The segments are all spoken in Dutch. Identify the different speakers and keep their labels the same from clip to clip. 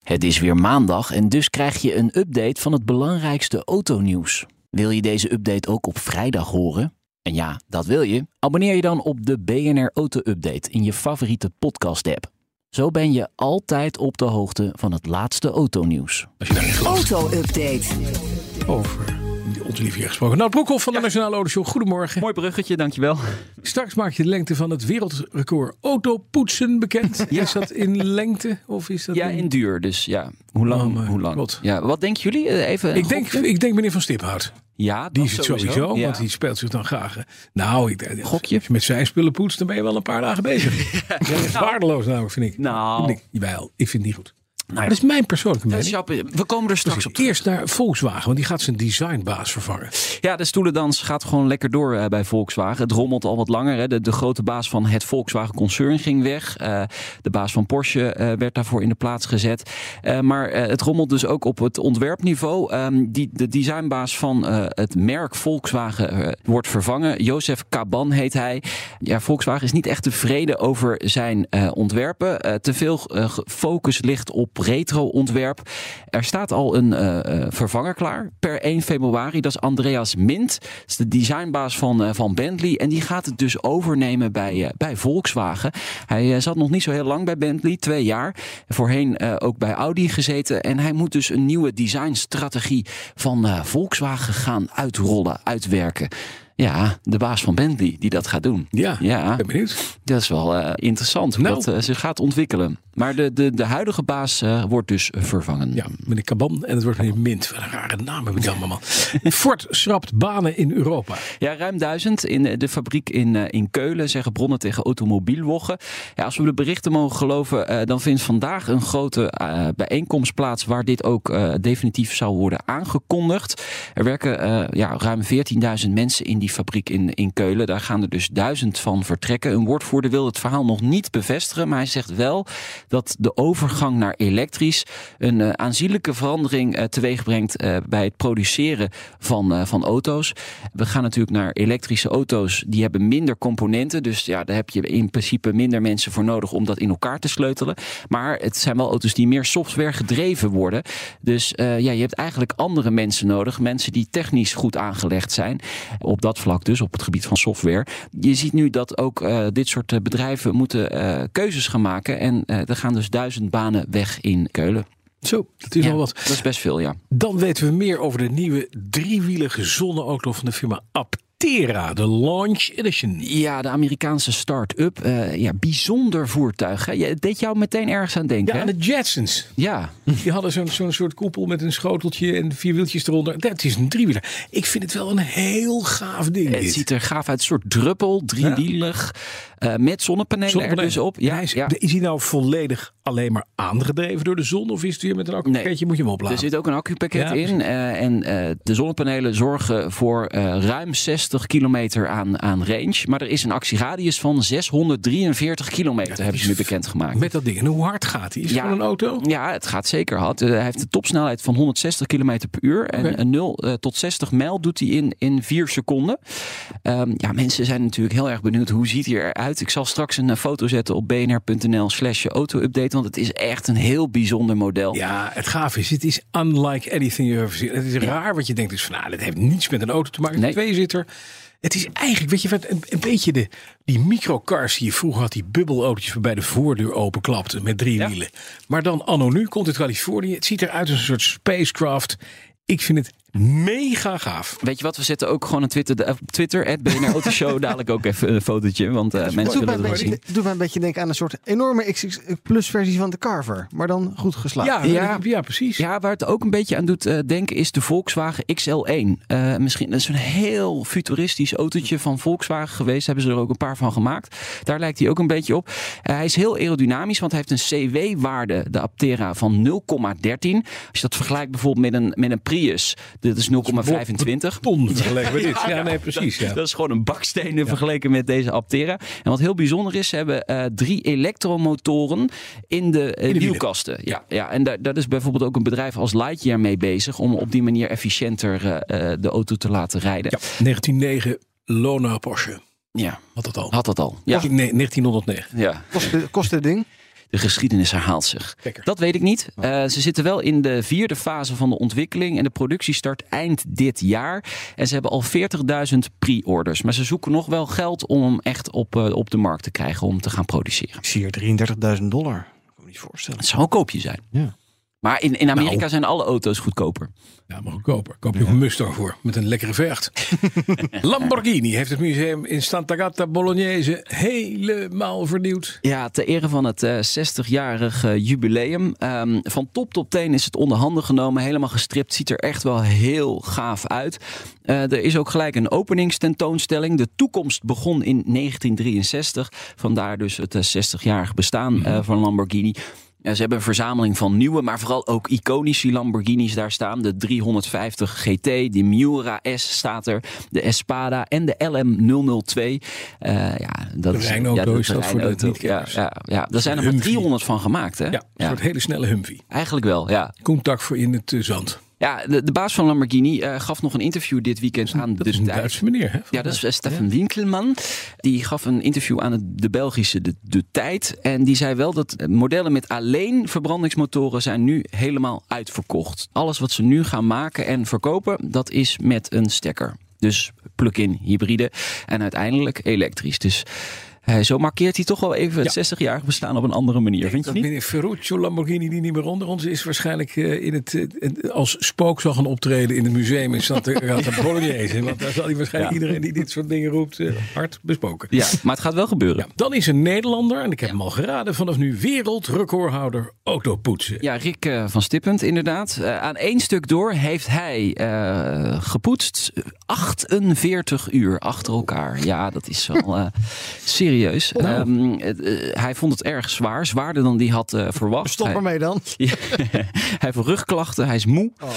Speaker 1: Het is weer maandag en dus krijg je een update van het belangrijkste autonieuws. Wil je deze update ook op vrijdag horen? En ja, dat wil je. Abonneer je dan op de BNR Auto Update in je favoriete podcast app. Zo ben je altijd op de hoogte van het laatste autonieuws.
Speaker 2: Auto-update.
Speaker 3: Over die Ottolivier gesproken. Nou, Broekhoff van de Nationale Autoshow. Goedemorgen.
Speaker 4: Mooi bruggetje, dankjewel.
Speaker 3: Straks maak je de lengte van het wereldrecord autopoetsen bekend. Is dat in lengte of is dat
Speaker 4: Ja,
Speaker 3: in-
Speaker 4: in duur, dus ja. Hoe lang?
Speaker 3: Oh, maar
Speaker 4: hoe lang?
Speaker 3: God.
Speaker 4: Ja, wat denken jullie? Eh, Even een
Speaker 3: Ik denk,
Speaker 4: gokje?
Speaker 3: ik denk meneer Van Stiphout.
Speaker 4: ja, dat
Speaker 3: Die is het sowieso,
Speaker 4: Ja.
Speaker 3: want die speelt zich dan graag. eh, Nou, ik,
Speaker 4: Gokje?
Speaker 3: als je met zijn spullen poetst, dan ben je wel een paar dagen bezig. Ja, dat is waardeloos namelijk, vind ik.
Speaker 4: Nou.
Speaker 3: Vind ik- Jawel, ik vind het niet goed.
Speaker 4: Nou ja.
Speaker 3: Dat is mijn persoonlijke
Speaker 4: Dat is
Speaker 3: mening.
Speaker 4: Jappe. We komen er straks op terug.
Speaker 3: Eerst naar Volkswagen, want die gaat zijn designbaas vervangen.
Speaker 4: Ja, de stoelendans gaat gewoon lekker door eh, bij Volkswagen. Het rommelt al wat langer. Hè. De, de grote baas van het Volkswagen-concern ging weg. Eh, de baas van Porsche eh, werd daarvoor in de plaats gezet. Eh, maar eh, het rommelt dus ook op het ontwerpniveau. Ehm, die, de designbaas van eh, het merk Volkswagen eh, wordt vervangen. Jozef Caban heet hij. Ja, Volkswagen is niet echt tevreden over zijn eh, ontwerpen. Eh, te veel eh, ge- focus ligt op retro-ontwerp. Er staat al een eh, eh, vervanger klaar per 1 februari. Dat is Andreas Mint. Dat is de designbaas van, eh, van Bentley. En die gaat het dus overnemen bij, eh, bij Volkswagen. Hij eh, zat nog niet zo heel lang bij Bentley, twee jaar. Voorheen eh, ook bij Audi gezeten. En hij moet dus een nieuwe designstrategie van eh, Volkswagen gaan uitrollen, uitwerken. Ja, de baas van Bentley die dat gaat doen.
Speaker 3: Ja,
Speaker 4: Ja.
Speaker 3: ik ben benieuwd.
Speaker 4: Dat is wel eh, interessant hoe
Speaker 3: Nou.
Speaker 4: dat eh, zich gaat ontwikkelen. Maar de, de, de huidige baas eh, wordt dus vervangen.
Speaker 3: Ja, meneer Caban en het wordt meneer Mint. Wat een rare naam heb ik allemaal, man. Ford schrapt banen in Europa.
Speaker 4: Ja, ruim duizend in eh, de fabriek in, eh, in Keulen, zeggen bronnen tegen Automobielwoggen. Ja, als we de berichten mogen geloven, eh, dan vindt vandaag een grote eh, bijeenkomst plaats waar dit ook eh, definitief zal worden aangekondigd. Er werken eh, ja, ruim 14.000 mensen in die fabriek in, in Keulen. Daar gaan er dus duizend van vertrekken. Een woordvoerder wil het verhaal nog niet bevestigen, maar hij zegt wel dat de overgang naar elektrisch een eh, aanzienlijke verandering eh, teweegbrengt eh, bij het produceren van, eh, van auto's. We gaan natuurlijk naar elektrische auto's. Die hebben minder componenten. Dus ja, daar heb je in principe minder mensen voor nodig om dat in elkaar te sleutelen. Maar het zijn wel auto's die meer software gedreven worden. Dus eh, ja, je hebt eigenlijk andere mensen nodig. Mensen die technisch goed aangelegd zijn. Op dat vlak dus, op het gebied van software. Je ziet nu dat ook eh, dit soort eh, bedrijven moeten eh, keuzes gaan maken. En eh, er gaan dus duizend banen weg in Keulen.
Speaker 3: Zo, dat is
Speaker 4: Ja,
Speaker 3: wel wat.
Speaker 4: Dat is best veel, ja.
Speaker 3: Dan weten we meer over de nieuwe driewielige zonneauto van de firma Aptera, de Launch Edition.
Speaker 4: Ja, de Amerikaanse start-up. eh, ja, bijzonder voertuig. Hè? Ja, het deed jou meteen ergens aan denken.
Speaker 3: Ja,
Speaker 4: hè?
Speaker 3: en de Jetsons.
Speaker 4: ja.
Speaker 3: Die hadden zo'n zo'n soort koepel met een schoteltje en vier wieltjes eronder. Dat is een driewieler. Ik vind het wel een heel gaaf ding.
Speaker 4: het
Speaker 3: dit.
Speaker 4: ziet er gaaf uit. Een soort druppel, driewielig. eh, met zonnepanelen,
Speaker 3: Zonnepanelen.
Speaker 4: er dus op.
Speaker 3: En
Speaker 4: Ja,
Speaker 3: hij is,
Speaker 4: ja.
Speaker 3: is hij nou volledig alleen maar aangedreven door de zon? Of is het weer met een accupakketje? Moet je hem
Speaker 4: Er
Speaker 3: opladen?
Speaker 4: zit ook een accupakket
Speaker 3: Ja,
Speaker 4: in. eh, en eh, de zonnepanelen zorgen voor eh, ruim 60 kilometer aan, aan range. Maar er is een actieradius van 643 kilometer, hebben ze nu bekendgemaakt.
Speaker 3: Met dat ding. En hoe hard gaat hij? Is het
Speaker 4: Ja.
Speaker 3: gewoon een auto?
Speaker 4: Ja, het gaat zeker hard. Eh, hij heeft een topsnelheid van 160 km per uur. En
Speaker 3: Oké.
Speaker 4: een 0 eh, tot 60 mijl doet hij in, in 4 seconden. Ehm, ja, mensen zijn natuurlijk heel erg benieuwd hoe ziet hij eruit. Ik zal straks een eh, foto zetten op bnr.nl slash auto-update. Want het is echt een heel bijzonder model.
Speaker 3: Ja, het gaaf is, het is unlike anything you ever seen. Het is raar wat je denkt, dus van, nou, dat heeft niets met een auto te maken.
Speaker 4: Nee.
Speaker 3: Twee Tweezitter. Het is eigenlijk, weet je wat, een, een beetje de, die microcars die je vroeger had, die bubbelautootjes waarbij de voordeur openklapte met drie wielen. Maar dan anno nu komt het Californië. Het ziet eruit als een soort spacecraft. Ik vind het Mega gaaf.
Speaker 4: Weet je wat, we zetten ook gewoon een Twitter, de- op Twitter, at BNR Autoshow, dadelijk ook even een fotootje, want eh, mensen
Speaker 5: Doet mij,
Speaker 4: willen
Speaker 5: een
Speaker 4: het wel zien.
Speaker 5: beetje, doet mij een beetje denken aan een soort enorme XX plus versie van de Carver. Maar dan goed geslaagd.
Speaker 3: Ja, ja.
Speaker 4: Ja.
Speaker 3: precies.
Speaker 4: Ja, waar het ook een beetje aan doet eh, denken is de Volkswagen XL1. Eh, misschien dat is een heel futuristisch autootje van Volkswagen geweest. Hebben ze er ook een paar van gemaakt. Daar lijkt hij ook een beetje op. Eh, hij is heel aerodynamisch, want hij heeft een CW-waarde, de Aptera, van 0,13. Als je dat vergelijkt bijvoorbeeld met een, met een Prius, dit is 0,25.
Speaker 3: Ton vergeleken met dit. Ja, nee, precies. Ja.
Speaker 4: Dat is gewoon een bakstenen vergeleken met deze Aptera. En wat heel bijzonder is, ze hebben eh, drie elektromotoren in de, eh,
Speaker 3: wielen.
Speaker 4: wielkasten. Ja, ja, en daar, daar is bijvoorbeeld ook een bedrijf als Lightyear mee bezig. Om op die manier efficiënter eh, eh, de auto te laten rijden.
Speaker 3: Ja, 1909 Lona Porsche.
Speaker 4: Ja,
Speaker 3: Had dat al.
Speaker 4: had dat al. Ja.
Speaker 3: Nee, 1909.
Speaker 4: Ja,
Speaker 5: Kost, kost het ding?
Speaker 4: de geschiedenis herhaalt zich.
Speaker 3: Lekker.
Speaker 4: Dat weet ik niet. Eh, ze zitten wel in de vierde fase van de ontwikkeling. En de productie start eind dit jaar. En ze hebben al 40.000 pre-orders. Maar ze zoeken nog wel geld om hem echt op, eh, op de markt te krijgen. Om te gaan produceren.
Speaker 5: Ik zie hier 33.000 dollar. Ik kan me niet voorstellen.
Speaker 4: Het zou een koopje zijn.
Speaker 5: Ja.
Speaker 4: Maar in, in Amerika
Speaker 3: Nou.
Speaker 4: zijn alle auto's goedkoper.
Speaker 3: Ja, maar goedkoper. Koop je ook een Mustang voor. Met een lekkere vecht. Lamborghini heeft het museum in Santa Gata Bolognese helemaal vernieuwd.
Speaker 4: Ja, ter ere van het eh, 60-jarig eh, jubileum. Ehm, van top tot teen is het onder handen genomen. Helemaal gestript. Ziet er echt wel heel gaaf uit. Eh, er is ook gelijk een openingstentoonstelling. De toekomst begon in 1963. Vandaar dus het eh, 60-jarig bestaan eh, van Lamborghini. Ja, ze hebben een verzameling van nieuwe, maar vooral ook iconische Lamborghinis daar staan. De 350 GT, de Miura S staat er, de Espada en de LM002. Eh, ja, dat is-
Speaker 3: Terreinauto
Speaker 4: ja,
Speaker 3: is dat voor de
Speaker 4: terreinauto. ja,
Speaker 3: niet-kenners.
Speaker 4: ja, ja, daar zijn er maar
Speaker 3: Humvee.
Speaker 4: 300 van gemaakt, hè?
Speaker 3: Ja, een soort hele snelle Humvee.
Speaker 4: Eigenlijk wel, ja.
Speaker 3: Koentak voor in het eh, zand.
Speaker 4: Ja, de, de baas van Lamborghini eh, gaf nog een interview dit weekend aan
Speaker 3: Dat
Speaker 4: de
Speaker 3: is een
Speaker 4: Duits-
Speaker 3: Duitse meneer, hè?
Speaker 4: Dus ja, dat is eh, Stefan Winkelman. Die gaf een interview aan het- de Belgische de, de Tijd. En die zei wel dat eh, modellen met alleen verbrandingsmotoren zijn nu helemaal uitverkocht. Alles wat ze nu gaan maken en verkopen, dat is met een stekker. Dus plug-in hybride en uiteindelijk elektrisch. Dus eh, zo markeert hij toch wel even het 60-jarig bestaan op een andere manier, vind je
Speaker 3: Dat
Speaker 4: niet?
Speaker 3: meneer Ferruccio Lamborghini, die niet meer onder ons is, waarschijnlijk eh, in het, eh, als spook zal gaan optreden in het museum in Santa Gata Bolognese. Want daar zal hij waarschijnlijk iedereen die dit soort dingen roept eh, hard bespoken.
Speaker 4: Ja, maar het gaat wel gebeuren.
Speaker 3: Dan is een Nederlander, en ik heb hem al geraden, vanaf nu wereldrecordhouder autopoetsen.
Speaker 4: Ja, Rick eh, van Stippend, inderdaad. Eh, aan één stuk door heeft hij eh, gepoetst 48 uur achter elkaar. Ja, dat is wel eh, serieus. Ehm, het, eh, hij vond het erg zwaar, zwaarder dan hij had eh, verwacht.
Speaker 5: Stop
Speaker 4: Hij-
Speaker 5: ermee dan.
Speaker 4: Ja, hij heeft rugklachten, hij is moe.
Speaker 5: Oh.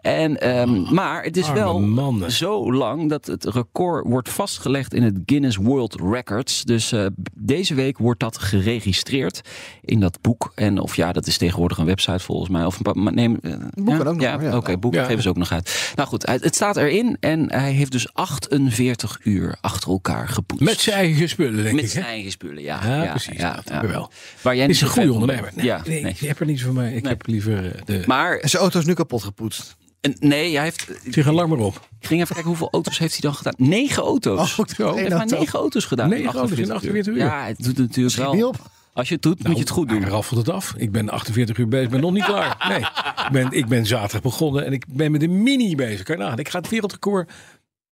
Speaker 4: En, ehm,
Speaker 5: Ah,
Speaker 4: maar het is
Speaker 3: arme
Speaker 4: wel
Speaker 3: mannen.
Speaker 4: zo lang dat het record wordt vastgelegd in het Guinness World Records. Dus eh, deze week wordt dat geregistreerd in dat boek. En of ja, dat is tegenwoordig een website volgens mij. Of een pa- maar neem, eh,
Speaker 5: Boeken
Speaker 4: ja?
Speaker 5: ook nog, oh
Speaker 4: Ja,
Speaker 5: ja.
Speaker 4: oké, boeken
Speaker 3: Ja.
Speaker 4: geven ze ook nog uit. Nou goed, het, het staat erin en hij heeft dus 48 uur achter elkaar gepoetst.
Speaker 3: Met zijn eigen spullen, denk
Speaker 4: Met
Speaker 3: ik. hè?
Speaker 4: zijn eigen spullen, ja.
Speaker 3: Ja, precies. dat hebben we wel.
Speaker 4: Waar jij
Speaker 3: Het
Speaker 4: niet
Speaker 3: is
Speaker 4: zo
Speaker 3: een goede
Speaker 4: fan van
Speaker 3: ondernemer.
Speaker 4: bent.
Speaker 3: Nee,
Speaker 4: ja,
Speaker 3: nee,
Speaker 4: nee.
Speaker 3: ik heb er niet van mij. Ik heb liever eh, de...
Speaker 4: Maar
Speaker 5: En zijn auto is nu kapot gepoetst.
Speaker 4: En Nee, hij heeft.
Speaker 3: Zich een maar op.
Speaker 4: Ik ging even kijken hoeveel auto's heeft hij dan gedaan. Negen auto's.
Speaker 5: Oh, zo.
Speaker 4: Hij heeft maar negen auto's gedaan.
Speaker 3: Negen auto's in 48 uur.
Speaker 4: Ja, het doet het natuurlijk
Speaker 5: Schiet niet
Speaker 4: wel.
Speaker 5: op.
Speaker 4: Als je het doet, moet je het goed doen.
Speaker 3: Hij raffelt het af. Ik ben 48 uur bezig, ben nog niet klaar. Nee, ik ben, ik ben zaterdag begonnen en ik ben met de mini bezig. Kan je nagaan. Ik ga het wereldrecord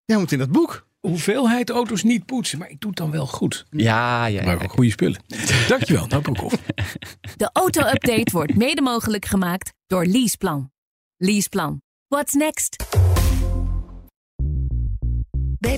Speaker 5: Jij moet in dat boek.
Speaker 3: hoeveelheid auto's niet poetsen. Maar ik doe het dan wel goed.
Speaker 4: Ja, ja.
Speaker 3: Maar ook goede spullen. Dankjewel, nou Broekhoff.
Speaker 6: De auto-update wordt mede mogelijk gemaakt door Leaseplan. Leaseplan. What's next?
Speaker 2: Bij